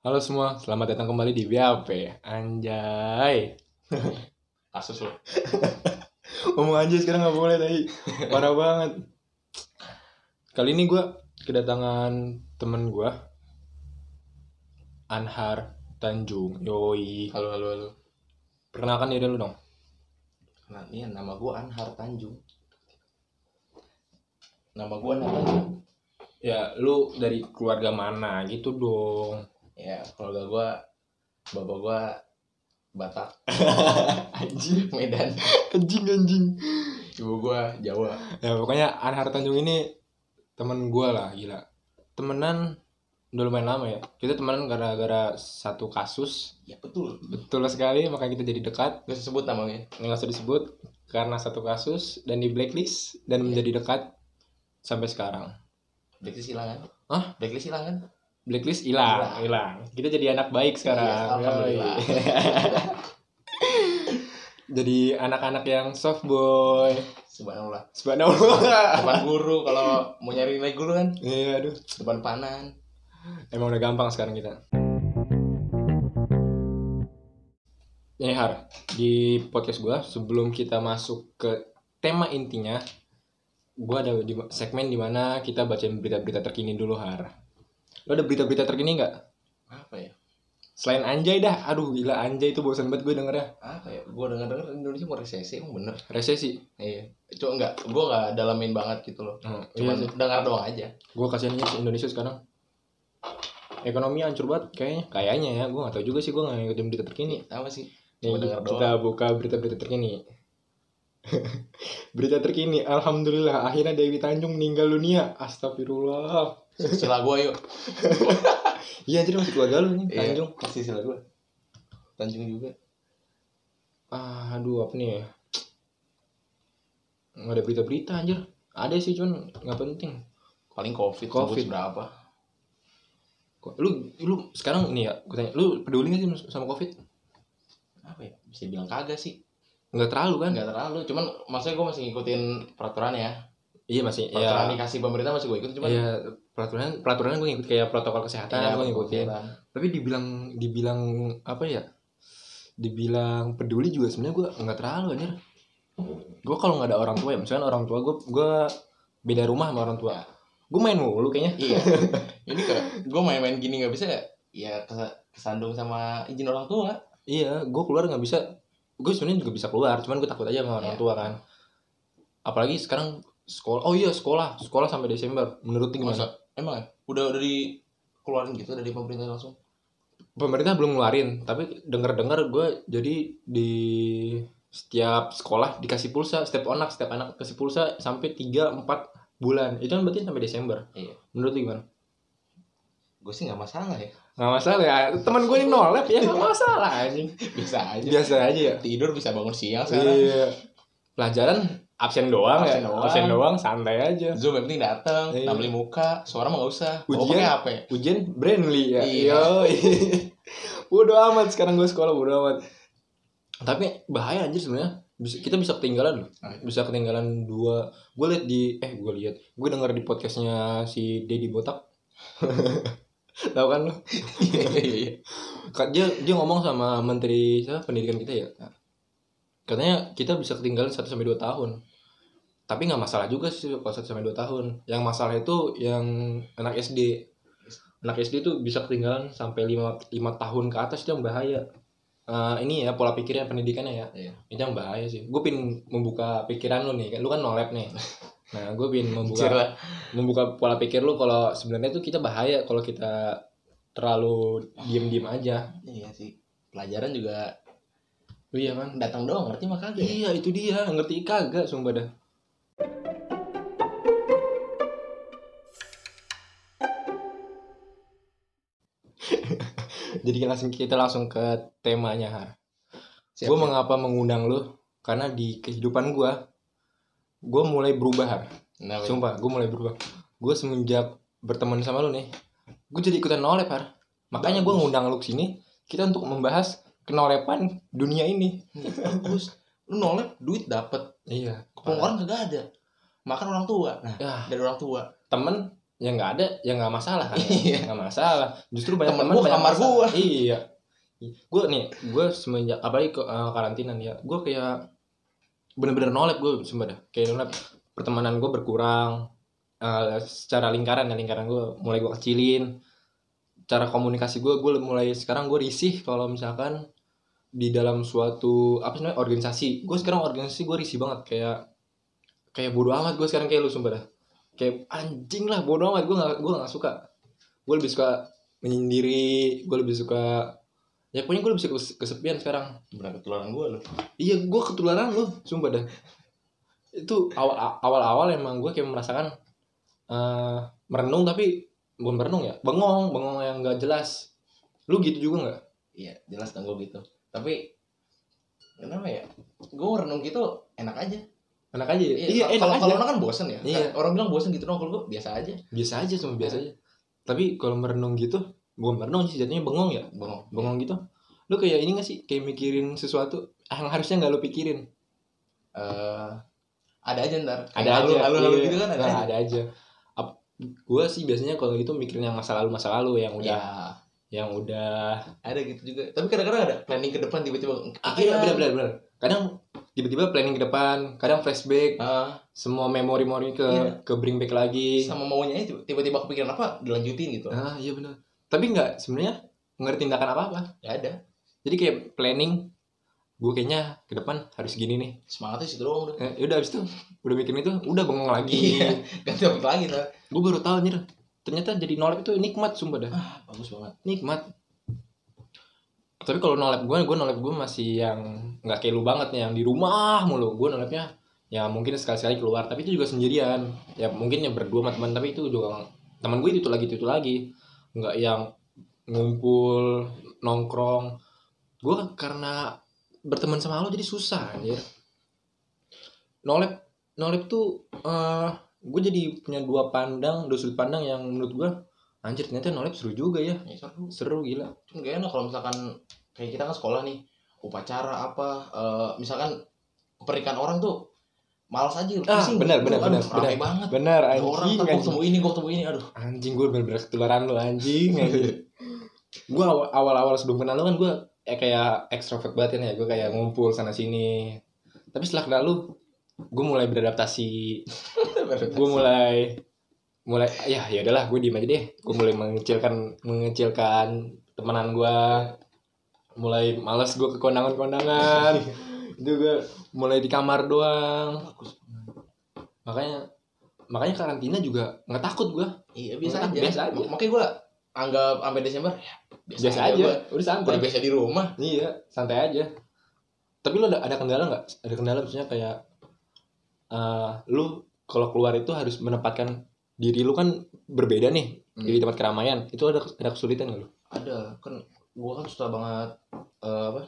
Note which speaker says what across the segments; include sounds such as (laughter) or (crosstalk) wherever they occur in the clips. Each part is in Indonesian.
Speaker 1: Halo semua, selamat datang kembali di BAP.
Speaker 2: (laughs)
Speaker 1: Anjay. Kasus lo.
Speaker 2: Ngomong aja sekarang nggak boleh tadi. Parah banget.
Speaker 1: Kali ini gue kedatangan temen gue. Anhar Tanjung. Yoi.
Speaker 2: Halo halo halo.
Speaker 1: Perkenalkan diri lu dong.
Speaker 2: Nah, ini nama gua Anhar Tanjung. Nama gua Anhar Tanjung.
Speaker 1: Ya, lu dari keluarga mana gitu dong.
Speaker 2: Ya, keluarga gua bapak gua Batak,
Speaker 1: (laughs) Anjing.
Speaker 2: Medan.
Speaker 1: Anjing, anjing.
Speaker 2: Ibu gua Jawa.
Speaker 1: Ya, pokoknya Anhar Tanjung ini temen gue lah, gila. Temenan udah lumayan lama ya. Kita temenan gara-gara satu kasus.
Speaker 2: Ya betul.
Speaker 1: Betul sekali, makanya kita jadi dekat.
Speaker 2: Gak usah sebut namanya.
Speaker 1: nggak usah disebut karena satu kasus dan di blacklist
Speaker 2: Iya.
Speaker 1: dan menjadi dekat sampai sekarang
Speaker 2: Blacklist silangan.
Speaker 1: Hah?
Speaker 2: Blacklist kan? silangan.
Speaker 1: blacklist hilang hilang kita jadi anak baik sekarang
Speaker 2: Iya, alhamdulillah.
Speaker 1: Yoi. jadi anak-anak yang soft boy
Speaker 2: (laughs) Subhanallah.
Speaker 1: subhanallah (laughs)
Speaker 2: Depan guru kalau mau nyari nilai guru kan
Speaker 1: iya aduh
Speaker 2: depan panan.
Speaker 1: emang udah gampang sekarang kita Nih Har, di podcast gua sebelum kita masuk ke tema intinya, gua ada di segmen dimana kita bacain berita-berita terkini dulu Har. Lo ada berita-berita terkini nggak?
Speaker 2: Apa ya?
Speaker 1: Selain Anjay dah, aduh gila Anjay itu bosan banget gue denger ya.
Speaker 2: Apa ya? Gua denger-denger Indonesia mau resesi, emang bener.
Speaker 1: Resesi.
Speaker 2: Iya. Cuma enggak, gua enggak dalamin banget gitu loh.
Speaker 1: Hmm,
Speaker 2: Cuma
Speaker 1: iya sih.
Speaker 2: dengar doang aja.
Speaker 1: Gue kasihannya sih Indonesia sekarang. Ekonomi hancur banget kayaknya. Kayaknya ya, gue gak tau juga sih gue gak ngikutin berita terkini.
Speaker 2: Apa sih?
Speaker 1: Nih,
Speaker 2: Cuma dengar
Speaker 1: kita buka berita-berita terkini. (laughs) berita terkini, alhamdulillah akhirnya Dewi Tanjung meninggal dunia. Astagfirullah.
Speaker 2: Sila gua yuk.
Speaker 1: Iya, jadi masih keluarga lu nih,
Speaker 2: Iya.
Speaker 1: Tanjung.
Speaker 2: Kasih sila gua. Tanjung juga.
Speaker 1: Ah, aduh, apa nih ya? Nggak ada berita-berita anjir. Ada sih, cuman nggak penting.
Speaker 2: Paling covid,
Speaker 1: Covid.
Speaker 2: covid berapa?
Speaker 1: Kok- Lu lu sekarang nih ya, gue tanya, lu peduli gak sih sama Covid?
Speaker 2: Apa ya? Bisa bilang kagak sih.
Speaker 1: Nggak terlalu kan?
Speaker 2: Enggak terlalu, cuman maksudnya gua masih ngikutin peraturan ya.
Speaker 1: Iya, masih
Speaker 2: Peraturan
Speaker 1: ya.
Speaker 2: dikasih pemerintah masih gua ikut cuman
Speaker 1: Iya, peraturan peraturan gue ngikut kayak protokol kesehatan gue ngikutin.
Speaker 2: peraturan.
Speaker 1: tapi dibilang dibilang apa ya dibilang peduli juga sebenarnya gue nggak terlalu anjir gue kalau nggak ada orang tua ya misalkan orang tua gue gue beda rumah sama orang tua gue main mulu kayaknya
Speaker 2: Iya. (laughs) Ini kayak gua main-main gini nggak bisa ya kes- kesandung sama izin orang tua.
Speaker 1: iya gue keluar nggak bisa gue sebenarnya juga bisa keluar cuman gue takut aja sama orang
Speaker 2: Iya.
Speaker 1: tua kan apalagi sekarang sekolah oh iya sekolah sekolah sampai Desember menurut lu gimana
Speaker 2: Masa emang ya? udah udah dikeluarin gitu dari pemerintah langsung.
Speaker 1: pemerintah belum ngeluarin tapi denger dengar gue jadi di setiap sekolah dikasih pulsa setiap anak setiap anak kasih pulsa sampai 3 4 bulan itu kan berarti sampai Desember
Speaker 2: Iya.
Speaker 1: menurut lu gimana
Speaker 2: Gue sih nggak masalah ya. (laughs)
Speaker 1: nggak masalah ya teman gue ini nolep ya nggak masalah anjing
Speaker 2: Bisa aja.
Speaker 1: biasa aja ya
Speaker 2: Tidur bisa bangun siang sekarang.
Speaker 1: iya pelajaran absen doang
Speaker 2: Absen
Speaker 1: ya
Speaker 2: doang.
Speaker 1: absen doang santai aja
Speaker 2: Zoom yang penting datang,
Speaker 1: Iya.
Speaker 2: tampilin muka, suara mah gak usah.
Speaker 1: Ujian?
Speaker 2: Bawa pakai HP.
Speaker 1: ujian Brandly ya
Speaker 2: Iya.
Speaker 1: Yoi. (laughs) bodo amat sekarang gue sekolah bodo amat tapi bahaya anjir sebenarnya Bisa- kita bisa ketinggalan loh
Speaker 2: Ah, iya.
Speaker 1: bisa ketinggalan dua gue liat di eh gue liat gue denger di podcastnya si Dedi Botak (laughs) tahu kan lo
Speaker 2: Iya, iya, iya.
Speaker 1: Ka- dia dia ngomong sama menteri siapa, pendidikan kita ya katanya kita bisa ketinggalan 1 sampai 2 tahun tapi nggak masalah juga sih kalau 1 sampai 2 tahun yang masalah itu yang anak SD anak SD itu bisa ketinggalan sampai 5, lima tahun ke atas itu yang bahaya Eh, ini ya pola pikirnya pendidikannya ya
Speaker 2: Iya.
Speaker 1: itu yang bahaya sih gue pin membuka pikiran lu nih lu kan nolep nih nah gue pin membuka
Speaker 2: Anjir lah.
Speaker 1: membuka pola pikir lu kalau sebenarnya tuh kita bahaya kalau kita terlalu diem-diem aja
Speaker 2: Iya sih. Pelajaran juga oh
Speaker 1: Iya kan?
Speaker 2: datang doang, ngerti mah kagak.
Speaker 1: Iya
Speaker 2: ya?
Speaker 1: itu dia, ngerti kagak sumpah dah. (laughs) Jadi kita langsung kita langsung ke temanya Har.
Speaker 2: Siap,
Speaker 1: Gue
Speaker 2: siap.
Speaker 1: mengapa mengundang lu? Karena di kehidupan gue, gue mulai berubah Har.
Speaker 2: Kenapa ya? (laughs)
Speaker 1: Sumpah, gue mulai berubah. Gue semenjak berteman sama lu nih, gue jadi ikutan nolep Har. Makanya gue
Speaker 2: Bagus.
Speaker 1: ngundang lu ke sini, kita untuk membahas kenolepan dunia ini.
Speaker 2: Bagus. Lu nolep, duit dapet.
Speaker 1: Iya.
Speaker 2: Kepung orang kagak ada. Makan orang tua. Nah,
Speaker 1: Ya, (laughs)
Speaker 2: dari orang tua.
Speaker 1: temen yang nggak ada ya nggak masalah
Speaker 2: (laughs)
Speaker 1: kan
Speaker 2: Iya.
Speaker 1: nggak masalah justru banyak
Speaker 2: Temen
Speaker 1: teman
Speaker 2: gua kamar gua.
Speaker 1: iya gue nih gue semenjak apalagi ke eh, karantina nih ya gue kayak bener-bener nolep gue sumpah dah kayak nolep pertemanan gue berkurang Eh, secara lingkaran ya lingkaran gue mulai gue kecilin cara komunikasi gue gue mulai sekarang gue risih kalau misalkan di dalam suatu apa sih namanya organisasi gue sekarang organisasi gue risih banget kayak kayak bodo amat gue sekarang kayak lu sumpah dah kayak anjing lah bodo amat gue gak gue gak suka gue lebih suka menyendiri gue lebih suka ya pokoknya gue lebih suka kes- kesepian sekarang
Speaker 2: benar ketularan gue loh
Speaker 1: iya gue ketularan lu sumpah dah itu awal awal awal emang gue kayak merasakan eh merenung tapi bukan merenung ya bengong bengong yang gak jelas lu gitu juga nggak
Speaker 2: iya jelas dong gue gitu tapi kenapa ya gue renung gitu enak aja
Speaker 1: enak aja ya? iya,
Speaker 2: kalau-
Speaker 1: enak
Speaker 2: kalau
Speaker 1: aja
Speaker 2: kalau renung kan bosen ya
Speaker 1: Iya.
Speaker 2: Kan orang bilang bosen gitu dong kalau gue biasa aja
Speaker 1: biasa aja cuma biasa
Speaker 2: Iya.
Speaker 1: aja tapi kalau merenung gitu bukan merenung sih jatuhnya bengong ya
Speaker 2: bengong
Speaker 1: bengong gitu lu kayak ini gak sih kayak mikirin sesuatu yang harusnya nggak lu pikirin
Speaker 2: Eh, ada aja ntar
Speaker 1: ada aja
Speaker 2: lalu lalu
Speaker 1: iya.
Speaker 2: gitu kan ada
Speaker 1: Nah,
Speaker 2: aja.
Speaker 1: ada aja Ap- gua sih biasanya kalau gitu mikirin yang masa lalu masa lalu yang
Speaker 2: ya
Speaker 1: udah yang udah
Speaker 2: ada gitu juga tapi kadang-kadang ada planning ke depan tiba-tiba
Speaker 1: ah,
Speaker 2: kepikiran.
Speaker 1: iya benar benar benar kadang tiba-tiba planning ke depan kadang flashback
Speaker 2: Ah,
Speaker 1: semua memori-memori ke
Speaker 2: Iya.
Speaker 1: ke bring back lagi
Speaker 2: sama maunya itu tiba-tiba kepikiran apa dilanjutin gitu
Speaker 1: ah iya benar tapi nggak sebenarnya nggak tindakan apa apa
Speaker 2: nggak Ya ada
Speaker 1: jadi kayak planning gue kayaknya ke depan harus gini nih
Speaker 2: semangatnya situ doang udah (laughs)
Speaker 1: eh, udah abis itu udah mikirin itu udah bengong lagi
Speaker 2: Iya. gak dapet lagi ntar
Speaker 1: gue baru tahu anjir ternyata jadi nolep itu nikmat sumpah dah
Speaker 2: ah bagus banget
Speaker 1: nikmat tapi kalau nolep gue gue nolep gue masih yang nggak kayak lu banget nih yang di rumah mulu gue nolepnya ya mungkin sekali-sekali keluar tapi itu juga sendirian ya mungkin ya berdua sama teman tapi itu juga teman gue itu lagi itu lagi nggak yang ngumpul nongkrong gue karena berteman sama lo jadi susah anjir nolep nolep tuh eh gue jadi punya dua pandang dua sudut pandang yang menurut gue anjir ternyata nolep seru juga ya
Speaker 2: ya seru
Speaker 1: seru gila
Speaker 2: Cuma gak enak kalau misalkan kayak kita kan sekolah nih upacara apa eh, misalkan pernikahan orang tuh malas aja
Speaker 1: Ah, benar, benar, benar,
Speaker 2: ramai
Speaker 1: benar.
Speaker 2: banget
Speaker 1: bener
Speaker 2: Ada orang
Speaker 1: anjing
Speaker 2: kan gua
Speaker 1: anjing,
Speaker 2: ketemu ini gua ketemu ini aduh
Speaker 1: anjing gue bener-bener ketularan lo anjing,
Speaker 2: (laughs)
Speaker 1: anjing. gue awal-awal sebelum kenal lo kan gue eh, kayak ekstrovert banget kan ya gue kayak ngumpul sana sini tapi setelah kenal lo gue mulai beradaptasi gue mulai mulai ya ya udahlah gue diem aja deh gue mulai mengecilkan mengecilkan temanan gue mulai males gue ke kondangan
Speaker 2: (laughs)
Speaker 1: kondangan itu gue mulai di kamar doang
Speaker 2: bagus
Speaker 1: makanya makanya karantina juga nggak takut gue
Speaker 2: iya biasa
Speaker 1: Nah,
Speaker 2: aja
Speaker 1: biasa aja.
Speaker 2: makanya gua anggap sampai Desember ya, biasa,
Speaker 1: biasa
Speaker 2: aja,
Speaker 1: aja
Speaker 2: gua.
Speaker 1: udah santai
Speaker 2: udah biasa di rumah
Speaker 1: iya santai aja tapi lo ada ada kendala nggak ada kendala maksudnya kayak eh lu kalau keluar itu harus menempatkan diri lu kan berbeda nih
Speaker 2: Hmm.
Speaker 1: di tempat keramaian itu ada ada kesulitan nggak lu
Speaker 2: ada kan gua kan susah banget eh, apa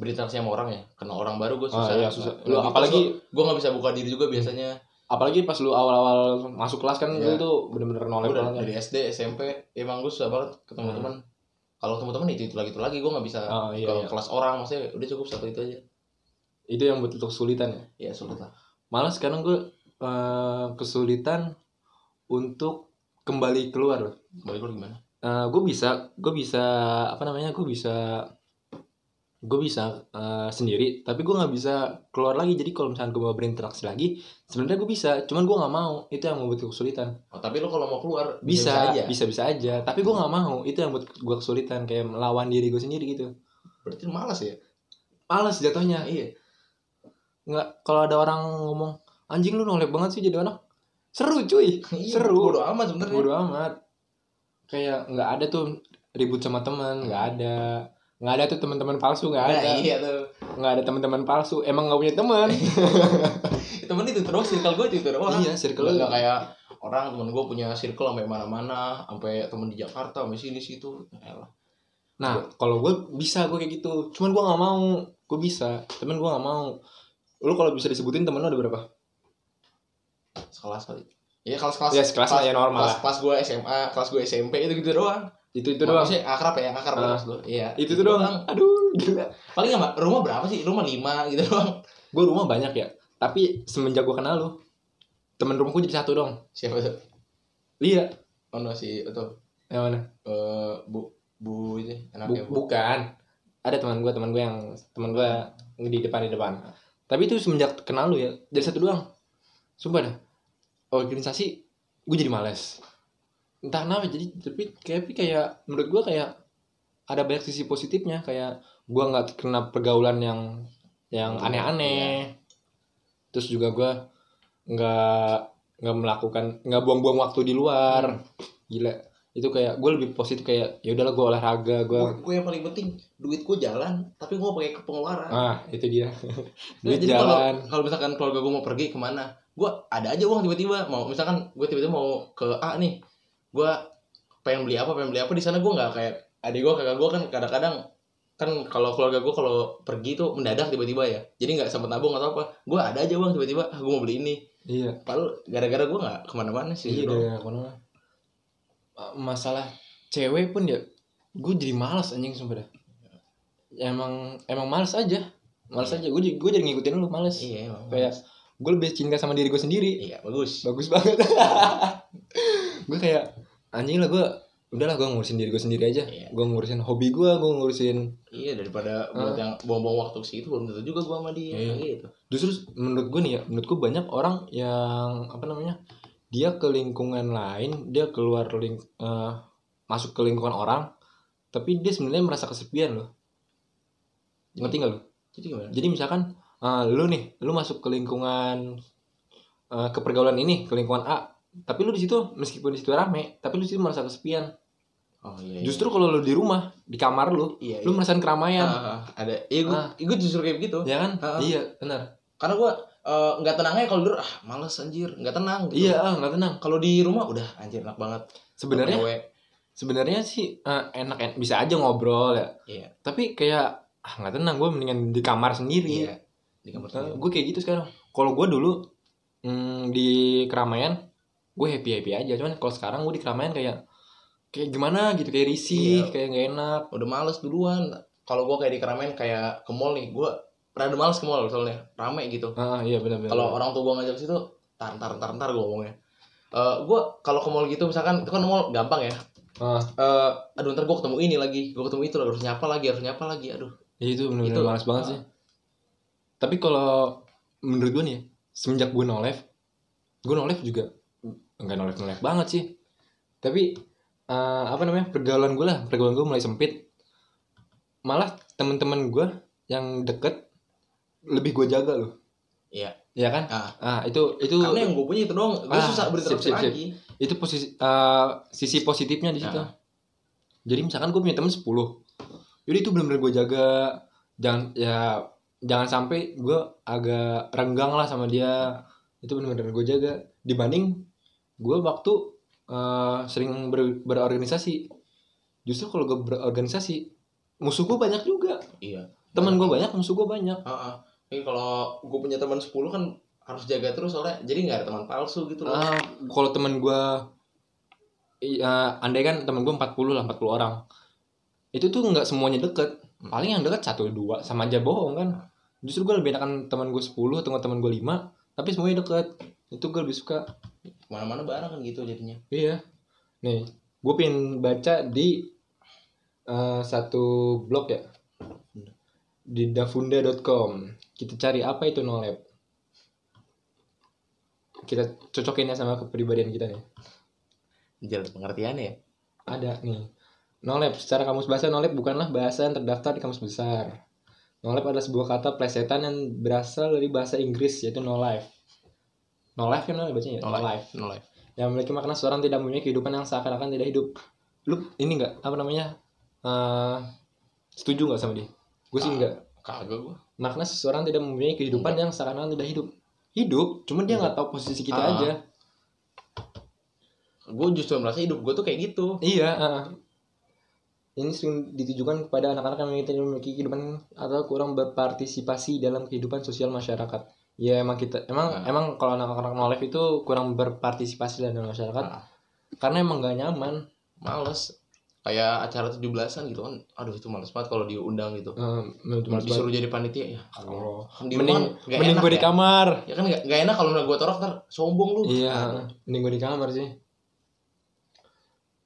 Speaker 2: berinteraksi sama orang ya kenal orang baru gua susah
Speaker 1: Ah, iya, susah. Lu apalagi
Speaker 2: gue nggak bisa buka diri juga biasanya
Speaker 1: apalagi pas lu awal-awal masuk kelas kan lu
Speaker 2: Iya.
Speaker 1: tuh bener-bener nolak
Speaker 2: Gue
Speaker 1: banget
Speaker 2: dari,
Speaker 1: kan.
Speaker 2: dari SD SMP emang gue susah banget ketemu
Speaker 1: Hmm.
Speaker 2: teman kalau ketemu teman itu itu lagi itu lagi gue nggak bisa
Speaker 1: Ah, iya,
Speaker 2: ke
Speaker 1: iya.
Speaker 2: kelas orang maksudnya udah cukup satu itu aja
Speaker 1: itu yang betul-betul kesulitan ya
Speaker 2: ya sulit lah
Speaker 1: malah sekarang gue eh, kesulitan untuk kembali keluar loh
Speaker 2: kembali lu gimana
Speaker 1: gue bisa gue bisa apa namanya gue bisa gue bisa eh, sendiri tapi gue nggak bisa keluar lagi jadi kalau misalnya gue mau berinteraksi lagi sebenarnya gue bisa cuman gue nggak mau itu yang membuat gue kesulitan
Speaker 2: oh, tapi lu kalau mau keluar
Speaker 1: bisa
Speaker 2: aja
Speaker 1: bisa bisa aja tapi gue nggak mau itu yang buat gue kesulitan kayak melawan diri gue sendiri gitu
Speaker 2: berarti lu malas ya
Speaker 1: males jatuhnya
Speaker 2: iya
Speaker 1: nggak kalau ada orang ngomong anjing lu nolep banget sih jadi anak seru cuy
Speaker 2: Iya,
Speaker 1: Seru.
Speaker 2: bodo amat sebenarnya
Speaker 1: bodo amat kayak nggak ada tuh ribut sama teman nggak ada nggak ada tuh teman-teman palsu nggak ada
Speaker 2: Nah, iya tuh
Speaker 1: nggak ada teman-teman palsu emang nggak punya
Speaker 2: (laughs)
Speaker 1: teman
Speaker 2: temen itu terus circle gue itu doang
Speaker 1: iya circle lu
Speaker 2: nggak kayak orang temen gue punya circle sampai mana-mana sampai temen di Jakarta sampai sini situ Elah.
Speaker 1: nah kalau gue bisa gue kayak gitu cuman gue nggak mau gue bisa temen gue nggak mau lu kalau bisa disebutin temen lu ada berapa
Speaker 2: sekelas kali Iya kelas-kelas
Speaker 1: Ya, sekelas lah, ya, normal
Speaker 2: kelas, kelas gue SMA, kelas gue SMP itu gitu doang.
Speaker 1: itu itu
Speaker 2: itu doang
Speaker 1: doang
Speaker 2: sih akrab ya akrab
Speaker 1: Ah.
Speaker 2: maksud lu. iya
Speaker 1: itu itu doang aduh gila
Speaker 2: paling nggak Mbak? rumah berapa sih rumah lima gitu doang (laughs)
Speaker 1: gue rumah banyak ya tapi semenjak gue kenal lu temen rumah gue jadi satu dong
Speaker 2: siapa tuh
Speaker 1: Iya.
Speaker 2: ono si itu
Speaker 1: Yang mana?
Speaker 2: eh, bu bu itu
Speaker 1: Bu-
Speaker 2: anaknya bu,
Speaker 1: bukan. Ada teman gue, teman gue yang teman gue di depan di depan. Tapi itu semenjak kenal lu ya, dari satu doang. Sumpah dah. Organisasi gue jadi males. Entah kenapa jadi tapi kayak tapi kayak menurut gue kayak ada banyak sisi positifnya kayak gue nggak kena pergaulan yang yang
Speaker 2: Iya.
Speaker 1: aneh-aneh. Terus juga gue nggak nggak melakukan nggak buang-buang waktu di luar.
Speaker 2: Hmm.
Speaker 1: Gila itu kayak gue lebih positif kayak ya udahlah gue olahraga gue
Speaker 2: Gua- gua yang paling penting duit gue jalan tapi gue pakai pengeluaran
Speaker 1: ah itu (laughs) dia
Speaker 2: Nah,
Speaker 1: duit
Speaker 2: jadi kalau-
Speaker 1: jalan
Speaker 2: kalau misalkan keluarga gue mau pergi kemana gue ada aja uang tiba-tiba mau misalkan gue tiba-tiba mau ke A nih gue pengen beli apa pengen beli apa di sana gue nggak kayak adik gue kakak gue kan kadang-kadang kan kalau keluarga gue kalau pergi tuh mendadak tiba-tiba ya jadi nggak sempet nabung atau apa gue ada aja uang tiba-tiba ah, gue mau beli ini
Speaker 1: iya
Speaker 2: padahal gara-gara gue nggak kemana-mana sih
Speaker 1: iya
Speaker 2: Bro.
Speaker 1: dari kono lah. Ma- Ah, masalah cewek pun ya gue jadi malas anjing sumpah dah emang emang malas aja malas aja gue gue jadi ngikutin lu malas
Speaker 2: iya emang.
Speaker 1: kayak gue lebih cinta sama diri gue sendiri
Speaker 2: iya bagus
Speaker 1: bagus banget (laughs) gue kayak anjing lah gue udahlah gue ngurusin diri gue sendiri aja
Speaker 2: Iya.
Speaker 1: gue ngurusin hobi gue gue ngurusin
Speaker 2: iya daripada buat yang buang-buang waktu ke situ belum tentu juga gue sama dia
Speaker 1: Ah. Iya.
Speaker 2: gitu
Speaker 1: justru menurut gue nih ya menurut gue banyak orang yang apa namanya dia ke lingkungan lain dia keluar ling eh, masuk ke lingkungan orang tapi dia sebenarnya merasa kesepian loh ngerti nggak lo
Speaker 2: jadi gimana
Speaker 1: jadi misalkan eh, lu nih lu masuk ke lingkungan eh, ke pergaulan ini ke lingkungan A tapi lu di situ meskipun di situ rame tapi lu di situ merasa kesepian
Speaker 2: oh iya iya.
Speaker 1: justru kalau lu di rumah di kamar lu
Speaker 2: iya,
Speaker 1: lu
Speaker 2: iya.
Speaker 1: merasakan keramaian
Speaker 2: Ah, ah, ada iya gue
Speaker 1: Ya. Ah.
Speaker 2: justru kayak begitu
Speaker 1: ya kan
Speaker 2: Ah, ah.
Speaker 1: iya benar
Speaker 2: karena gue nggak tenangnya kalau dulu ah males anjir nggak tenang gitu.
Speaker 1: iya ah, nggak tenang
Speaker 2: kalau di rumah udah anjir enak banget
Speaker 1: sebenarnya
Speaker 2: Gawe.
Speaker 1: sebenarnya sih eh, enak en- bisa aja ngobrol ya
Speaker 2: Iya.
Speaker 1: tapi kayak ah nggak tenang gue mendingan di kamar sendiri
Speaker 2: iya di
Speaker 1: Eh,
Speaker 2: kamar sendiri.
Speaker 1: gue kayak gitu sekarang kalau gue dulu mm, di keramaian gue happy happy aja cuman kalau sekarang gue di keramaian kayak kayak gimana gitu kayak risih
Speaker 2: Iya.
Speaker 1: kayak nggak enak
Speaker 2: udah males duluan kalau gue kayak di keramaian kayak ke mall nih gue rada males ke mall soalnya rame gitu
Speaker 1: ah iya benar-benar
Speaker 2: kalau orang tua gue ngajak ke situ tar tar tar tar gue ngomongnya Eh gue kalau ke mall gitu misalkan itu kan mall gampang ya
Speaker 1: Ah.
Speaker 2: Eh, aduh ntar gue ketemu ini lagi gue ketemu itu lagi, harus nyapa lagi harus nyapa lagi aduh
Speaker 1: Ya, itu benar-benar
Speaker 2: Itu-
Speaker 1: malas banget
Speaker 2: ah.
Speaker 1: sih tapi kalau menurut gue nih ya, semenjak gue no life gue no life juga nggak no life no life banget sih tapi eh, apa namanya pergaulan gue lah pergaulan gue mulai sempit malah teman-teman gue yang deket lebih gue jaga loh
Speaker 2: Iya.
Speaker 1: Iya kan
Speaker 2: Ah.
Speaker 1: ah itu itu
Speaker 2: karena yang gue punya itu doang gue
Speaker 1: Ah,
Speaker 2: susah berinteraksi
Speaker 1: sip, sip, sip.
Speaker 2: lagi
Speaker 1: itu posisi eh, sisi positifnya di situ.
Speaker 2: Ah.
Speaker 1: Jadi misalkan gue punya temen 10 Jadi itu benar-benar gue jaga jangan ya jangan sampai gue agak renggang lah sama dia. Itu benar-benar gue jaga dibanding gue waktu eh, sering ber- berorganisasi. Justru kalau gue berorganisasi musuh gue banyak juga.
Speaker 2: iya
Speaker 1: Temen gue banyak, musuh gue banyak.
Speaker 2: Heeh. Ini kalau gue punya teman 10 kan harus jaga terus soalnya jadi nggak ada teman palsu gitu loh.
Speaker 1: Ah, kalau temen gue iya, andai kan temen gue 40 lah 40 orang itu tuh nggak semuanya deket paling yang deket satu dua sama aja bohong kan justru gue lebih enakan temen gue 10 atau temen gue 5 tapi semuanya deket itu gue lebih suka
Speaker 2: Mana-mana bareng kan gitu jadinya.
Speaker 1: iya nih gue pengen baca di eh, satu blog ya di dafunda.com kita cari apa itu nolab kita cocokin ya sama kepribadian kita nih
Speaker 2: Jelas pengertiannya ya.
Speaker 1: ada nih. Nolep secara kamus bahasa nolep bukanlah bahasa yang terdaftar di kamus besar. Nolep adalah sebuah kata plesetan yang berasal dari bahasa Inggris yaitu no life. No life kan bacanya ya?
Speaker 2: No life. No life.
Speaker 1: Yang memiliki makna seorang tidak mempunyai kehidupan yang seakan-akan tidak hidup. Lu ini enggak apa namanya? eh setuju nggak sama dia? Gue sih
Speaker 2: Ah.
Speaker 1: enggak.
Speaker 2: Kagak gue.
Speaker 1: Makna seseorang tidak mempunyai kehidupan yang seakan-akan tidak hidup. Hidup, cuman dia nggak tahu posisi kita
Speaker 2: Ah.
Speaker 1: aja.
Speaker 2: Gue justru merasa hidup gue tuh kayak gitu.
Speaker 1: Iya. ah. Ini sering ditujukan kepada anak-anak yang memiliki- memiliki kehidupan atau kurang berpartisipasi dalam kehidupan sosial masyarakat. Ya emang kita emang
Speaker 2: Ah.
Speaker 1: emang kalau anak-anak no life itu kurang berpartisipasi dalam masyarakat
Speaker 2: Ah.
Speaker 1: karena emang gak nyaman.
Speaker 2: Males. Kayak acara 17-an gitu kan. Aduh itu males banget kalau diundang gitu.
Speaker 1: Eh, menurut gua-
Speaker 2: Disuruh jadi panitia ya.
Speaker 1: Allah.
Speaker 2: Kan di
Speaker 1: Mending
Speaker 2: rumah nggak
Speaker 1: mending
Speaker 2: enak
Speaker 1: gue di
Speaker 2: ya.
Speaker 1: kamar.
Speaker 2: Ya kan gak, enak kalau gue torak ntar sombong lu.
Speaker 1: Iya,
Speaker 2: Aduh.
Speaker 1: mending gue di kamar sih.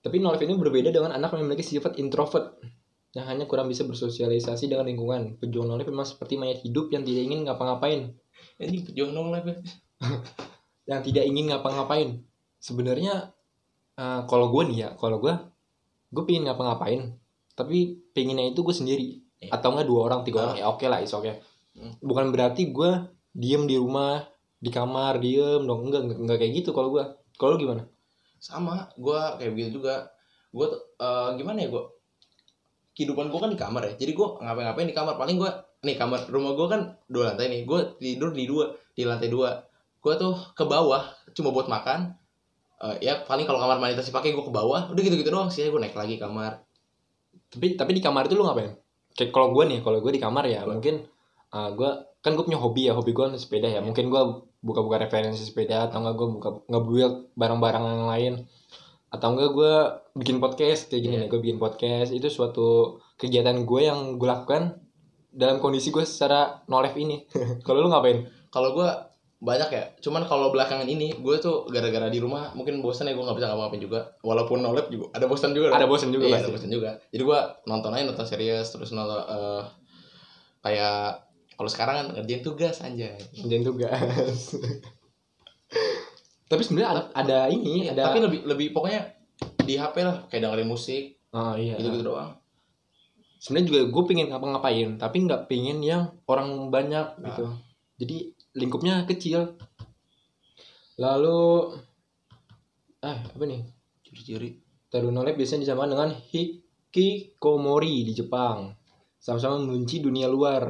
Speaker 1: Tapi no life ini berbeda dengan anak yang memiliki sifat introvert yang hanya kurang bisa bersosialisasi dengan lingkungan. Pejuang no life memang seperti mayat hidup yang tidak ingin ngapa-ngapain,
Speaker 2: Anjing pejuang dong lah. Beb.
Speaker 1: yang tidak ingin ngapa-ngapain. Sebenarnya eh, kalau gue nih ya, kalau gue gue pingin ngapa-ngapain, tapi pinginnya itu gue sendiri
Speaker 2: Iya.
Speaker 1: atau enggak dua orang tiga orang ya oke lah is oke.
Speaker 2: Hmm.
Speaker 1: Bukan berarti gue diem di rumah di kamar diem dong enggak enggak, enggak kayak gitu kalau gue. Kalau lu gimana?
Speaker 2: Sama, gua kayak begitu juga. Gua tuh, eh, gimana ya gua? Kehidupan gua kan di kamar ya. Jadi gua ngapain-ngapain di kamar. Paling gua nih kamar rumah gua kan dua lantai nih. Gua tidur di dua, di lantai dua. Gua tuh ke bawah cuma buat makan. Eh, ya paling kalau kamar mandi sih pakai gua ke bawah. Udah gitu-gitu doang sih. Gua naik lagi ke kamar.
Speaker 1: Tapi tapi di kamar itu lu ngapain? Kayak kalau gue nih, kalau gue di kamar ya
Speaker 2: Gua.
Speaker 1: mungkin uh, gue kan gue punya hobi ya, hobi gue sepeda ya.
Speaker 2: Iya.
Speaker 1: Mungkin gue buka-buka referensi sepeda atau enggak gue buka ngebuild barang-barang yang lain atau enggak gue bikin podcast kayak gini
Speaker 2: Iya.
Speaker 1: nih gue bikin podcast itu suatu kegiatan gue yang gue lakukan dalam kondisi gue secara no life ini (laughs) kalau lu ngapain
Speaker 2: Kalau gua banyak ya cuman kalau belakangan ini gue tuh gara-gara di rumah mungkin bosan ya gue nggak bisa ngapa-ngapain juga walaupun no lab juga ada bosan juga
Speaker 1: ada bosen juga
Speaker 2: iya,
Speaker 1: pasti
Speaker 2: ada bosan juga. Jadi gua nonton aja nonton series terus nonton eh, kayak kalau sekarang kan ngerjain tugas anjay.
Speaker 1: Kerjain tugas (laughs) tapi sebenarnya ada, ada ini ada
Speaker 2: Iya, Tapi lebih lebih pokoknya di HP lah kayak dengerin musik
Speaker 1: oh, iya.
Speaker 2: gitu-gitu doang.
Speaker 1: sebenarnya juga gue pengen ngapa-ngapain tapi nggak pengen yang orang banyak gitu jadi lingkupnya kecil lalu ah apa nih
Speaker 2: Ciri-ciri.
Speaker 1: Taruna Lab biasanya disamakan dengan Hikikomori di Jepang. Sama-sama membenci dunia luar.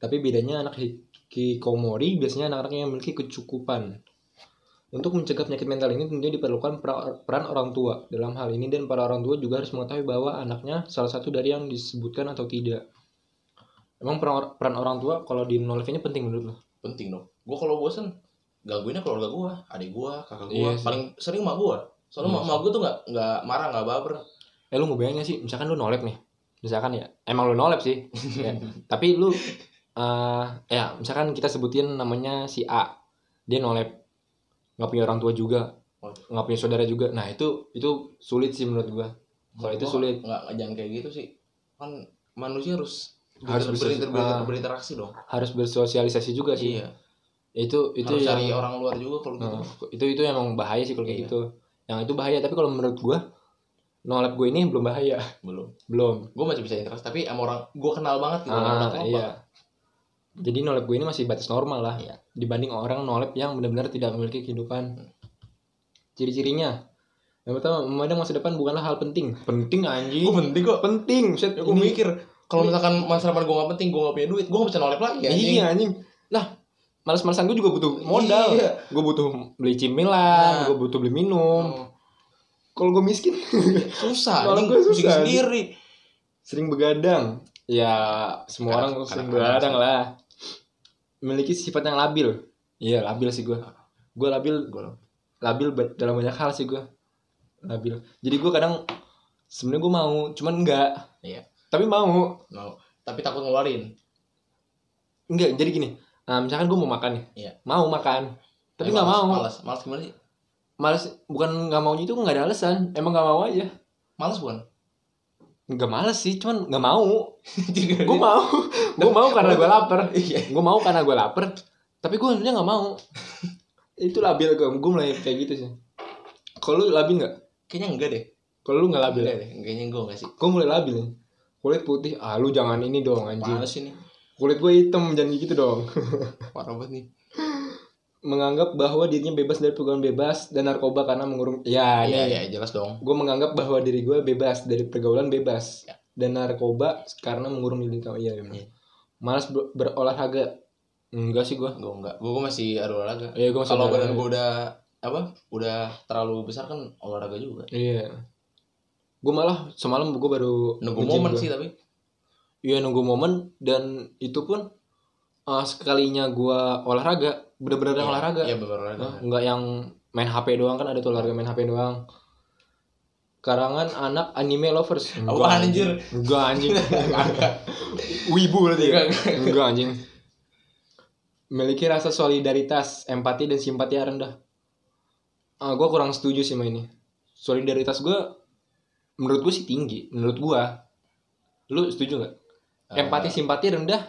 Speaker 1: Tapi bedanya anak Hikikomori biasanya anak-anak yang memiliki kecukupan. Untuk mencegah penyakit mental ini tentunya diperlukan pra- peran orang tua. Dalam hal ini dan para orang tua juga harus mengetahui bahwa anaknya salah satu dari yang disebutkan atau tidak. Emang peran, peran orang tua kalau di no life ini penting menurut lo?
Speaker 2: Penting dong. Gua kalau bosan gangguinnya keluarga gua, adik gua, kakak
Speaker 1: Iya
Speaker 2: gua,
Speaker 1: sih.
Speaker 2: paling sering emak gua. Soalnya
Speaker 1: Iya
Speaker 2: emak emak gua tuh nggak nggak marah nggak baper.
Speaker 1: Eh lu ngebayang gak sih? Misalkan lu no lab nih. Misalkan ya. Emang lu no lab
Speaker 2: (laughs)
Speaker 1: sih. Ya, Tapi lu. eh ya misalkan kita sebutin namanya si A. Dia no lab. Gak punya orang tua juga.
Speaker 2: Waduh.
Speaker 1: Gak punya saudara juga. Nah itu itu sulit sih menurut gua. Kalau itu
Speaker 2: Gua
Speaker 1: sulit.
Speaker 2: nggak nggak- jangan kayak gitu sih. Kan manusia harus
Speaker 1: Harus
Speaker 2: ber-
Speaker 1: bisa-
Speaker 2: berinter- berinter-
Speaker 1: ah.
Speaker 2: berinteraksi dong.
Speaker 1: Harus bersosialisasi juga sih.
Speaker 2: Iya.
Speaker 1: Itu itu
Speaker 2: harus
Speaker 1: yang-
Speaker 2: cari orang luar juga kalau gitu.
Speaker 1: Nah, itu itu emang bahaya sih kalau kayak
Speaker 2: Iya.
Speaker 1: gitu. Yang itu bahaya. Tapi kalau menurut gua no lab gue ini belum bahaya. (laughs)
Speaker 2: Belum.
Speaker 1: Belum.
Speaker 2: gue masih bisa interest tapi sama orang gue kenal banget gitu
Speaker 1: Ah,
Speaker 2: orang apa
Speaker 1: iya. Jadi nolep gue ini masih batas normal lah
Speaker 2: Iya. Hmm.
Speaker 1: dibanding orang nolep yang benar-benar tidak memiliki kehidupan. Ciri-cirinya yang pertama memandang masa depan bukanlah hal penting. Penting anjing.
Speaker 2: gue penting kok
Speaker 1: penting. Set,
Speaker 2: ya, gue
Speaker 1: ini-
Speaker 2: mikir kalau misalkan masa depan gue gak penting gue gak punya duit gue gak bisa nolep lagi anjing.
Speaker 1: Iya anjing. Nah, malas-malasan gue juga butuh modal.
Speaker 2: Iya.
Speaker 1: Gue butuh beli cemilan,
Speaker 2: Nah.
Speaker 1: gue butuh beli minum.
Speaker 2: Oh,
Speaker 1: Kalau gue miskin
Speaker 2: susah
Speaker 1: Malah
Speaker 2: anjing
Speaker 1: gua
Speaker 2: gue
Speaker 1: susah, anjing.
Speaker 2: sendiri
Speaker 1: sering begadang ya semua orang
Speaker 2: Kadang-
Speaker 1: sering
Speaker 2: kadang-kadang
Speaker 1: begadang lah memiliki sifat yang labil iya labil sih gue gue labil
Speaker 2: Gua labil.
Speaker 1: labil ba- dalam banyak hal sih gue labil jadi gue kadang sebenarnya gue mau cuman enggak
Speaker 2: Iya.
Speaker 1: tapi mau
Speaker 2: no. tapi takut ngeluarin
Speaker 1: enggak jadi gini nah, misalkan gue mau makan nih
Speaker 2: Iya.
Speaker 1: mau makan tapi nggak
Speaker 2: malas,
Speaker 1: mau
Speaker 2: malas malas gimana sih
Speaker 1: males bukan nggak maunya itu nggak ada alasan emang nggak mau aja
Speaker 2: malas bukan (laughs)
Speaker 1: nggak males sih cuman nggak mau gue
Speaker 2: gue (laughs)
Speaker 1: mau gue mau karena gue lapar
Speaker 2: iya
Speaker 1: gue mau karena gue lapar tapi gue sebenarnya nggak
Speaker 2: (laughs)
Speaker 1: mau itu labil gue gue mulai kayak gitu sih kalau lu labil nggak
Speaker 2: kayaknya enggak deh
Speaker 1: kalau lu nggak labil
Speaker 2: Enggak deh kayaknya gue enggak sih
Speaker 1: gue mulai labil nih. kulit putih ah lu jangan ini dong anjing
Speaker 2: Males ini
Speaker 1: kulit gue hitam jangan gitu dong (laughs)
Speaker 2: parah banget nih
Speaker 1: menganggap bahwa dirinya bebas dari pergaulan bebas dan narkoba karena mengurung ya
Speaker 2: iya
Speaker 1: ini
Speaker 2: iya jelas dong
Speaker 1: gue menganggap bahwa diri gue bebas dari pergaulan bebas
Speaker 2: Ya.
Speaker 1: dan narkoba karena mengurung diri kamu iya benar.
Speaker 2: Iya.
Speaker 1: malas ber- berolahraga enggak sih gue
Speaker 2: gue enggak gue Iya, masih ada olahraga
Speaker 1: ya gue
Speaker 2: kalau badan gue udah apa udah terlalu besar kan olahraga juga
Speaker 1: Iya. Gue malah semalam gue baru
Speaker 2: nunggu
Speaker 1: nge-gym
Speaker 2: momen
Speaker 1: gua.
Speaker 2: sih tapi
Speaker 1: Iya nunggu momen dan itu pun uh, sekalinya gue olahraga bener-bener yang
Speaker 2: Iya,
Speaker 1: olahraga.
Speaker 2: iya bener olahraga
Speaker 1: Nah, nggak yang main HP doang kan ada tuh olahraga main HP doang. Karangan anak anime lovers. Enggak,
Speaker 2: Apaan anjir?
Speaker 1: Enggak anjing. Wibu berarti ya?
Speaker 2: Enggak,
Speaker 1: Enggak anjing. Memiliki rasa solidaritas, empati dan simpati yang rendah. gue kurang Ah, setuju sih sama ini. solidaritas gue menurut gue sih tinggi menurut gue lu setuju nggak
Speaker 2: Eh,
Speaker 1: empati simpati rendah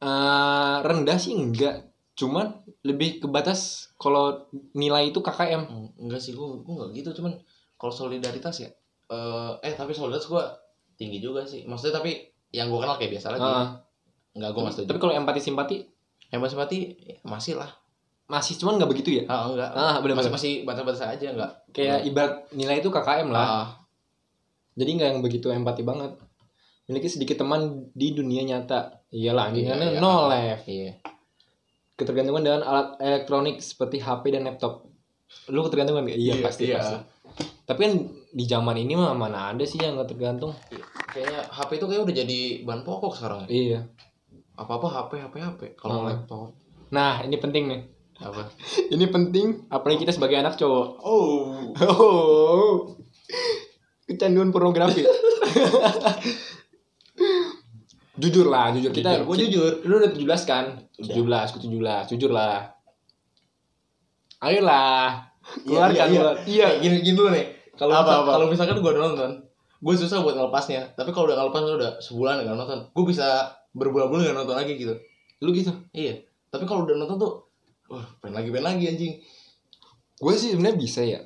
Speaker 1: Eh, rendah sih enggak cuman lebih ke batas kalau nilai itu KKM
Speaker 2: Hmm, enggak sih gua gua enggak gitu cuman kalau solidaritas ya eh, eh tapi solidaritas gua tinggi juga sih maksudnya tapi yang gua kenal kayak biasa lagi
Speaker 1: Heeh.
Speaker 2: enggak gua masih
Speaker 1: Ah, tapi kalau empati simpati
Speaker 2: hemat simpati ya, masih lah
Speaker 1: masih cuman nggak begitu ya
Speaker 2: ah enggak
Speaker 1: ah benar
Speaker 2: masih
Speaker 1: benar
Speaker 2: masih batas-batas aja enggak
Speaker 1: kayak ibarat nilai itu KKM lah
Speaker 2: ah
Speaker 1: jadi nggak yang begitu empati banget memiliki sedikit teman di dunia nyata iyalah
Speaker 2: Iya,
Speaker 1: anjingannya
Speaker 2: iya.
Speaker 1: no life
Speaker 2: iya
Speaker 1: ketergantungan dengan alat elektronik seperti HP dan laptop lu ketergantungan nggak? iya,
Speaker 2: Iya,
Speaker 1: pasti
Speaker 2: iya.
Speaker 1: pasti tapi kan di zaman ini mah mana ada sih yang nggak tergantung
Speaker 2: kayaknya HP itu kayak udah jadi bahan pokok sekarang ya
Speaker 1: iya
Speaker 2: apa apa HP HP HP kalau
Speaker 1: Hmm.
Speaker 2: laptop
Speaker 1: nah ini penting nih
Speaker 2: apa
Speaker 1: ini penting apalagi kita sebagai anak cowok
Speaker 2: oh
Speaker 1: Oh, kecanduan (laughs) pornografi. jujur lah, jujur kita.
Speaker 2: Jujur, gua jujur.
Speaker 1: Lu udah 17 kan?
Speaker 2: Udah.
Speaker 1: 17, gua 17, jujur lah. Ayolah. Keluarkan
Speaker 2: iya,
Speaker 1: gua.
Speaker 2: iya. Eh, gini gini dulu nih kalau
Speaker 1: Apa,
Speaker 2: misal-
Speaker 1: apa?
Speaker 2: kalau misalkan gue nonton gue susah buat ngelepasnya tapi kalau udah ngelepas udah sebulan nggak nonton gue bisa berbulan-bulan nggak nonton lagi gitu
Speaker 1: Lu gitu.
Speaker 2: iya tapi kalau udah nonton tuh wah pengen lagi pengen lagi anjing
Speaker 1: Gue sih sebenarnya bisa ya.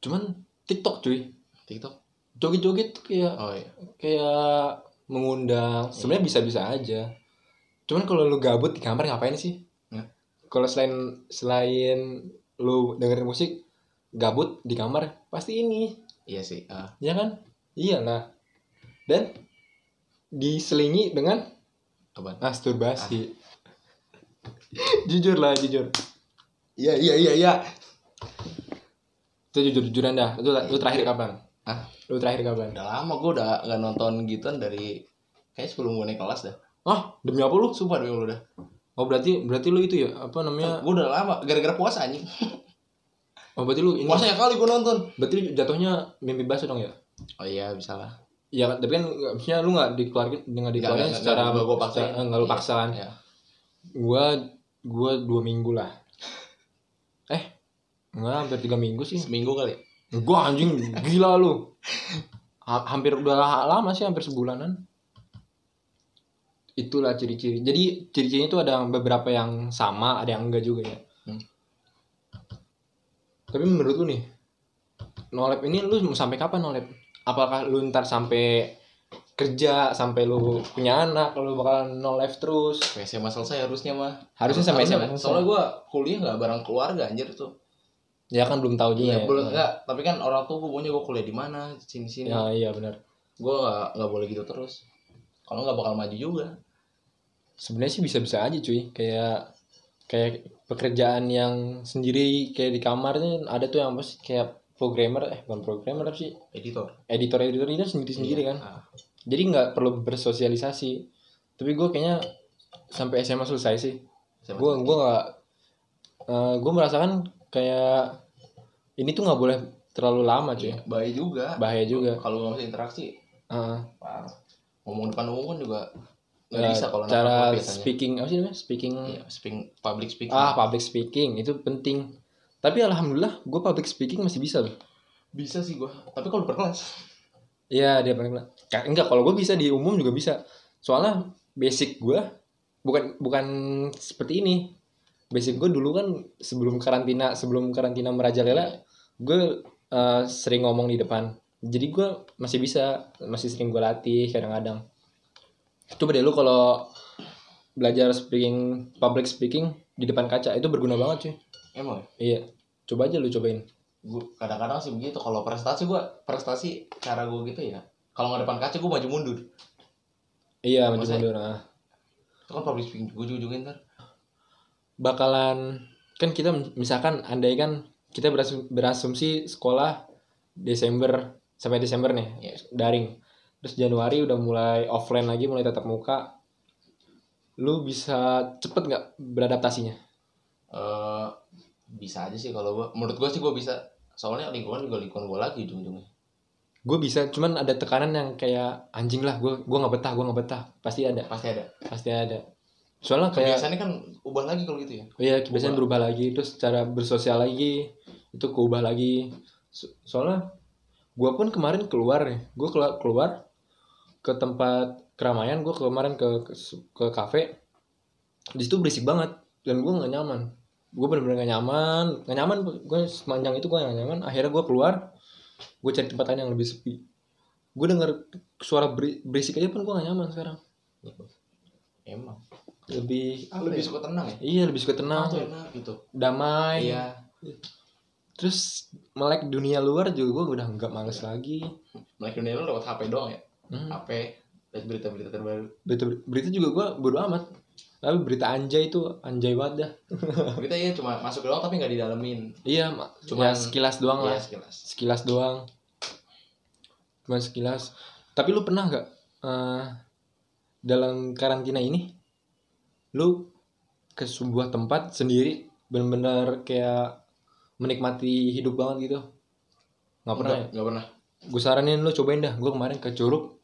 Speaker 1: Cuman TikTok cuy.
Speaker 2: TikTok
Speaker 1: Joget-joget tuh kayak
Speaker 2: oh iya
Speaker 1: kayak mengundang. Sebenarnya bisa-bisa aja. Cuman kalau lu gabut di kamar ngapain sih?
Speaker 2: Ya.
Speaker 1: Kalau selain selain lu dengerin musik, gabut di kamar pasti ini,
Speaker 2: iya sih ah.
Speaker 1: ya kan? Iyalah. Dan diselingi dengan
Speaker 2: apaan?
Speaker 1: masturbasi.
Speaker 2: Ah.
Speaker 1: (laughs) jujur lah, jujur.
Speaker 2: iya iya iya iya
Speaker 1: Itu jujur-jujuran dah. Lu, lu
Speaker 2: Iya.
Speaker 1: terakhir kapan?
Speaker 2: Hah?
Speaker 1: Lu terakhir kapan?
Speaker 2: udah lama gue udah nggak nonton gituan dari kayak sebelum gue naik kelas dah
Speaker 1: Ah, demi apa lu?
Speaker 2: sumpah demi lu dah
Speaker 1: Oh, berarti berarti lu itu ya, apa namanya?
Speaker 2: gue udah lama gara-gara puasa anjing
Speaker 1: Oh, berarti lu ini.
Speaker 2: puasanya kali gue nonton
Speaker 1: Berarti lu jatuhnya mimpi basah dong ya?
Speaker 2: oh iya bisa lah
Speaker 1: Ya kan, tapi kan nggak- maksudnya lu nggak dikeluarin nggak dikeluarin
Speaker 2: nggak,
Speaker 1: secara
Speaker 2: nggak, gua paksain.
Speaker 1: secara- nggak lu
Speaker 2: Iya.
Speaker 1: paksaan.
Speaker 2: Iya.
Speaker 1: Gua gua dua minggu
Speaker 2: (laughs)
Speaker 1: lah. Eh nggak hampir tiga minggu sih.
Speaker 2: Iya. seminggu kali
Speaker 1: Gua anjing gila lu. Ha- hampir udah lama sih hampir sebulanan. Itulah ciri-ciri. Jadi ciri-cirinya itu ada beberapa yang sama, ada yang enggak juga ya.
Speaker 2: Hmm.
Speaker 1: Tapi menurut lu nih, nolep ini lu mau sampai kapan nolep? Apakah lu ntar sampai kerja sampai lu punya anak lu bakalan no life terus
Speaker 2: Sampai SMA selesai harusnya mah.
Speaker 1: Harusnya sampai SMA selesai.
Speaker 2: Soalnya gue kuliah nggak bareng keluarga anjir tuh.
Speaker 1: ya kan belum tahu juga
Speaker 2: Iya,
Speaker 1: ya,
Speaker 2: belum enggak. Tapi kan orang tua gue maunya gue kuliah di mana, sini sini.
Speaker 1: ya iya benar
Speaker 2: Gue nggak nggak boleh gitu terus. Kalau nggak bakal maju juga.
Speaker 1: sebenarnya sih bisa-bisa aja cuy kayak kayak pekerjaan yang sendiri kayak di kamar tuh ada tuh yang apa sih kayak programmer eh bukan programmer apa sih
Speaker 2: Editor.
Speaker 1: editor editor itu sendiri sendiri
Speaker 2: Iya.
Speaker 1: kan
Speaker 2: Ah.
Speaker 1: jadi nggak perlu bersosialisasi tapi gue kayaknya sampai SMA selesai sih
Speaker 2: SMA.
Speaker 1: gue gue nggak gue merasakan kayak ini tuh nggak boleh terlalu lama cuy
Speaker 2: Iya, bahaya juga.
Speaker 1: bahaya juga
Speaker 2: Kalau nggak bisa interaksi,
Speaker 1: Heeh.
Speaker 2: parah. Ngomong depan umum kan juga nggak
Speaker 1: Ya,
Speaker 2: bisa kalau anak
Speaker 1: cara
Speaker 2: kelas biasanya.
Speaker 1: speaking apa sih namanya speaking
Speaker 2: Iya, speaking, public speaking.
Speaker 1: ah public speaking itu penting tapi alhamdulillah gue public speaking masih bisa loh
Speaker 2: Bisa sih gue. Tapi kalau berkelas.
Speaker 1: Iya dia paling kena. Ka- Enggak kalau gue bisa di umum juga bisa. Soalnya basic gue bukan bukan seperti ini. Basic gue dulu kan sebelum karantina sebelum karantina merajalela gue eh, sering ngomong di depan. Jadi gue masih bisa masih sering gue latih kadang-kadang. Coba deh lu kalau belajar speaking public speaking di depan kaca itu berguna banget cuy.
Speaker 2: Emang ya?
Speaker 1: Iya. Coba aja lu cobain.
Speaker 2: Gua kadang-kadang sih begitu kalau prestasi gue prestasi cara gue gitu ya kalau nggak depan kaca gue maju mundur
Speaker 1: Iya, maju
Speaker 2: Maksudnya-
Speaker 1: mundur. Nah.
Speaker 2: itu kan public speaking gue juga ntar
Speaker 1: bakalan kan kita misalkan andai kan kita berasum- berasumsi sekolah Desember sampai Desember nih
Speaker 2: Iya.
Speaker 1: daring terus Januari udah mulai offline lagi mulai tatap muka lu bisa cepet nggak beradaptasinya
Speaker 2: Eh, bisa aja sih kalau gue menurut gue sih gue bisa soalnya lingkungan juga lingkungan gue lagi ujung-ujungnya
Speaker 1: gue bisa cuman ada tekanan yang kayak anjing lah gue gua nggak betah gue nggak betah pasti ada
Speaker 2: pasti ada
Speaker 1: pasti ada soalnya kayak
Speaker 2: kebiasaannya kan ubah lagi kalau gitu ya
Speaker 1: Oh iya, biasanya berubah lagi, terus cara bersosial lagi, itu keubah lagi. So- soalnya gue pun kemarin keluar nih gue keluar ke tempat keramaian gue kemarin ke ke, ke kafe di situ berisik banget dan gue nggak nyaman gue bener-bener gak nyaman gak nyaman gue sepanjang itu gue gak nyaman akhirnya gue keluar gue cari tempat lain yang lebih sepi gue denger suara beri- berisik aja pun gue gak nyaman sekarang
Speaker 2: Emang.
Speaker 1: lebih apa
Speaker 2: lebih
Speaker 1: ya?
Speaker 2: suka tenang ya.
Speaker 1: iya lebih suka tenang
Speaker 2: Tenang enak gitu.
Speaker 1: damai
Speaker 2: Iya.
Speaker 1: terus melek dunia luar juga gue udah nggak males lagi
Speaker 2: Melek dunia lu lewat HP doang ya.
Speaker 1: Iya. Hmm.
Speaker 2: HP lihat berita-berita terbaru.
Speaker 1: berita berita juga gue bodo amat tapi berita anjay itu anjay banget dah
Speaker 2: Berita iya cuma masuk doang tapi nggak didalemin.
Speaker 1: iya ma- ya
Speaker 2: Cuman-
Speaker 1: sekilas doang
Speaker 2: Iya
Speaker 1: lah
Speaker 2: sekilas.
Speaker 1: sekilas doang cuma sekilas tapi lu pernah nggak eh, dalam karantina ini lu ke sebuah tempat sendiri bener-bener kayak menikmati hidup banget gitu nggak pernah ya?
Speaker 2: Nggak pernah.
Speaker 1: gue saranin lo cobain dah gue kemarin ke Curug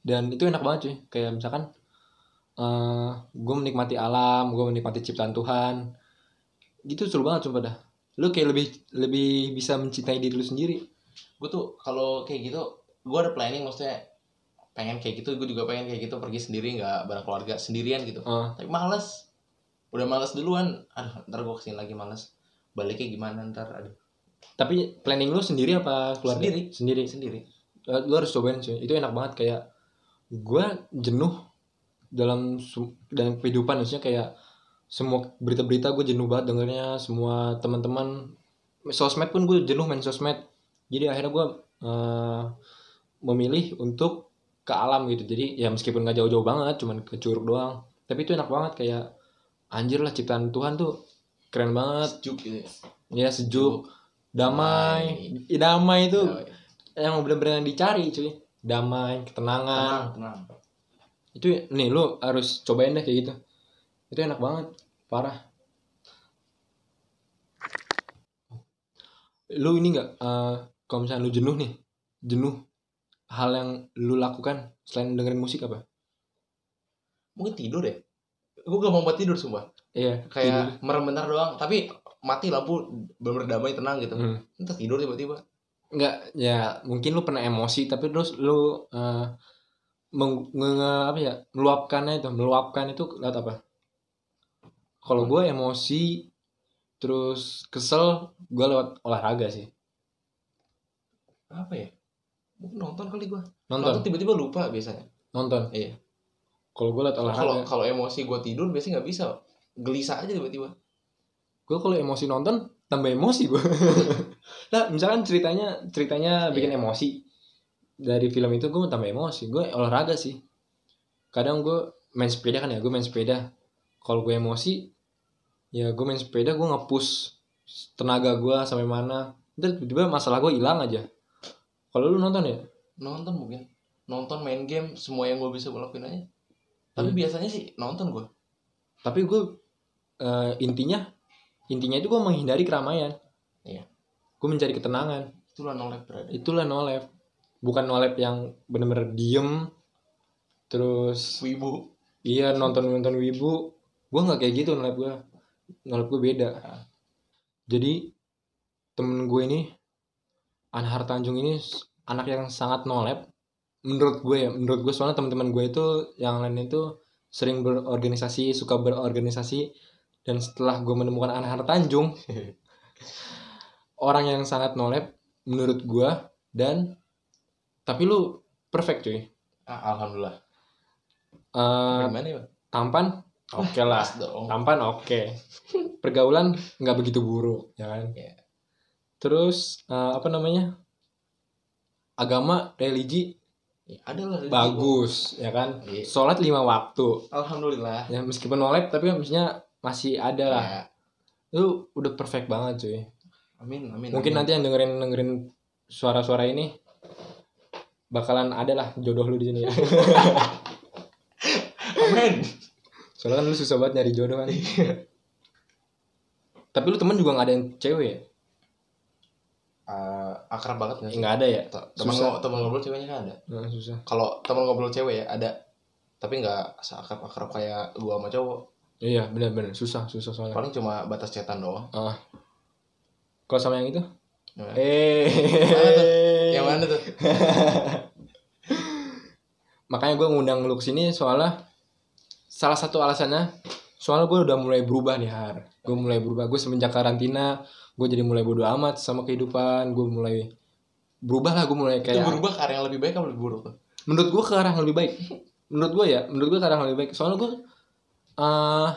Speaker 1: dan itu enak banget cuy kayak misalkan eh gue menikmati alam gue menikmati ciptaan Tuhan gitu seru banget sumpah dah lo kayak lebih lebih bisa mencintai diri lu sendiri
Speaker 2: gue tuh kalau kayak gitu gue ada planning maksudnya pengen kayak gitu gue juga pengen kayak gitu pergi sendiri nggak bareng keluarga sendirian gitu
Speaker 1: Eh,
Speaker 2: tapi males udah males duluan aduh ntar gue kesini lagi males baliknya gimana ntar aduh
Speaker 1: tapi planning lu sendiri apa keluarga
Speaker 2: Sendiri.
Speaker 1: sendiri
Speaker 2: sendiri
Speaker 1: Eh, lu harus cobain cuy itu enak banget kayak gue jenuh dalam su- dalam kehidupan maksudnya kayak semua berita-berita gue jenuh banget dengernya semua teman-teman sosmed pun gue jenuh main sosmed jadi akhirnya gue eh, memilih untuk ke alam gitu jadi ya meskipun nggak jauh-jauh banget cuman ke curug doang tapi itu enak banget kayak anjir lah ciptaan Tuhan tuh keren banget
Speaker 2: sejuk gitu ya.
Speaker 1: ya sejuk damai damai itu
Speaker 2: Nah,
Speaker 1: Eh, yang benar-benar yang dicari cuy damai ketenangan
Speaker 2: tenang tenang
Speaker 1: itu nih lu harus cobain deh kayak gitu itu enak banget parah lu ini nggak eh kalau misalnya lu jenuh nih jenuh hal yang lu lakukan selain dengerin musik apa
Speaker 2: mungkin tidur ya gue gak mau buat tidur sumpah
Speaker 1: iya
Speaker 2: kayak merem bentar doang tapi mati lampu bener damai tenang gitu
Speaker 1: tidur. Hmm.
Speaker 2: entar tidur tiba-tiba
Speaker 1: nggak ya mungkin lu pernah emosi tapi terus lu eh meng, nge- nge- apa ya meluapkannya itu meluapkan itu lewat apa kalau gue emosi terus kesel gue lewat olahraga sih
Speaker 2: apa ya mungkin nonton kali gue nonton
Speaker 1: nonton
Speaker 2: tiba-tiba lupa biasanya
Speaker 1: nonton
Speaker 2: Iya.
Speaker 1: kalau gue lewat olahraga
Speaker 2: kalau kalau emosi gue tidur biasanya nggak bisa gelisah aja tiba-tiba
Speaker 1: gue kalau emosi nonton tambah emosi gue lah misalkan ceritanya ceritanya bikin emosi dari film itu gue tambah emosi gue olahraga sih kadang gue main sepeda kan ya gue main sepeda kalau gue emosi ya gue main sepeda gue nge-push tenaga gue sampai mana Ntar tiba-tiba masalah gue hilang aja kalau lu nonton ya
Speaker 2: nonton mungkin nonton main game semua yang gue bisa gue lakuin aja
Speaker 1: Iya.
Speaker 2: tapi biasanya sih nonton gue
Speaker 1: tapi gue eh, intinya intinya itu gue menghindari keramaian
Speaker 2: Iya.
Speaker 1: gue mencari ketenangan
Speaker 2: itulah nolak berada
Speaker 1: itulah no life bukan no life yang bener-bener diem terus
Speaker 2: wibu
Speaker 1: iya nonton nonton wibu gue nggak kayak gitu no life gue no life gue beda jadi temen gue ini Anhar Tanjung ini s- anak yang sangat no life menurut gue ya menurut gue soalnya teman-teman gue itu yang lain itu sering berorganisasi suka berorganisasi dan setelah gue menemukan Anhar (laughs) Tanjung orang yang sangat no life menurut gue dan tapi lu perfect cuy
Speaker 2: ah, alhamdulillah
Speaker 1: Eh,
Speaker 2: gimana ya Bang?
Speaker 1: tampan oke lah
Speaker 2: Pas dong
Speaker 1: tampan oke pergaulan nggak begitu buruk ya kan
Speaker 2: Iya.
Speaker 1: terus eh, apa namanya agama religi
Speaker 2: ya, ada lah rezeki
Speaker 1: bagus ya kan
Speaker 2: gua. Iya.
Speaker 1: sholat lima waktu
Speaker 2: alhamdulillah
Speaker 1: ya meskipun nolep tapi maksudnya masih ada lah
Speaker 2: Ya,
Speaker 1: lu udah perfect banget cuy
Speaker 2: amin amin
Speaker 1: mungkin
Speaker 2: amin.
Speaker 1: nanti yang dengerin dengerin suara-suara ini bakalan ada lah jodoh lu di sini (laughs) ya.
Speaker 2: amin
Speaker 1: soalnya kan lu susah banget nyari jodoh kan tapi lu temen juga nggak ada yang cewek ya
Speaker 2: Ah, akrab banget nggak
Speaker 1: Eh,
Speaker 2: sih
Speaker 1: nggak ada ya
Speaker 2: T- teman
Speaker 1: Susah.
Speaker 2: ngo- teman ngobrol ceweknya kan ada
Speaker 1: Nah, susah
Speaker 2: kalau teman ngobrol cewek ya ada tapi nggak seakrab akrab kayak gua sama cowok
Speaker 1: Iya benar-benar susah susah soalnya. Ah.
Speaker 2: paling cuma batas cetan doang
Speaker 1: Kalau sama yang itu? Eh.
Speaker 2: Mana tuh? Ya. Yang mana tuh?
Speaker 1: Makanya gue ngundang lu kesini soalnya salah satu alasannya soalnya gue udah mulai berubah nih Har. Gue mulai berubah. Gue semenjak karantina gue jadi mulai bodo amat sama kehidupan. Gue mulai berubah lah. Gue mulai
Speaker 2: Itu
Speaker 1: kayak
Speaker 2: berubah ke arah yang lebih baik apa lebih buruk tuh?
Speaker 1: menurut gue ke arah yang lebih baik menurut gue ya menurut gue ke arah yang lebih baik soalnya gue eh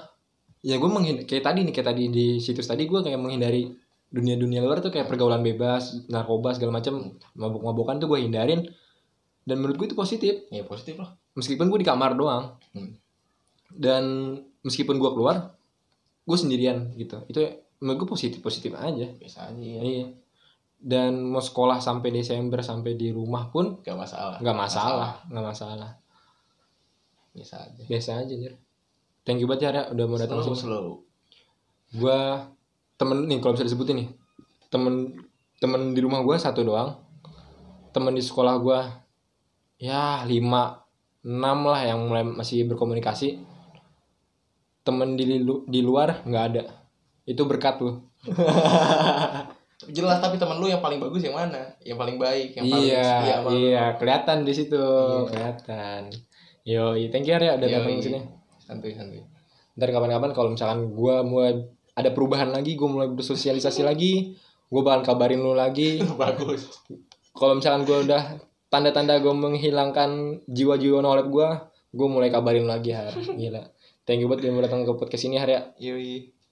Speaker 1: ya gue menghindari kayak tadi nih kayak tadi di situs tadi gue kayak menghindari dunia-dunia luar tuh kayak pergaulan bebas narkoba segala macam mabuk-mabukan tuh gue hindarin dan menurut gue itu positif
Speaker 2: Ya positif lah.
Speaker 1: meskipun gue di kamar doang
Speaker 2: Hmm.
Speaker 1: dan meskipun gue keluar gue sendirian gitu itu menurut gue positif positif aja
Speaker 2: Biasa aja ya.
Speaker 1: iya dan mau sekolah sampai Desember sampai di rumah pun
Speaker 2: Gak masalah.
Speaker 1: nggak masalah nggak masalah
Speaker 2: Biasa aja.
Speaker 1: biasa aja anjir thank you banget ya Ra, udah mau datang
Speaker 2: Slow,
Speaker 1: sini
Speaker 2: slow.
Speaker 1: gue temen nih kalau bisa disebutin nih temen temen di rumah gue satu doang temen di sekolah gue ya lima enam lah yang mulai masih berkomunikasi temen di lu- di luar nggak ada itu berkat lu
Speaker 2: Tapi jelas tapi teman lu yang paling bagus yang mana? Yang paling baik, yang paling setia
Speaker 1: iya
Speaker 2: sama lu.
Speaker 1: iya kelihatan di situ
Speaker 2: Iya.
Speaker 1: kelihatan yo thank you ya udah
Speaker 2: Yoi.
Speaker 1: datang ke sini
Speaker 2: Iya, Santuy, santuy.
Speaker 1: ntar kapan-kapan kalau misalkan gue mulai ada perubahan lagi gue mulai bersosialisasi lagi gue bakal kabarin lu lagi
Speaker 2: bagus.
Speaker 1: kalau misalkan gue udah tanda-tanda gue menghilangkan jiwa-jiwa nolep gue gue mulai kabarin lu lagi har gila thank you buat yang udah datang ke podcast ini har ya
Speaker 2: Yoi.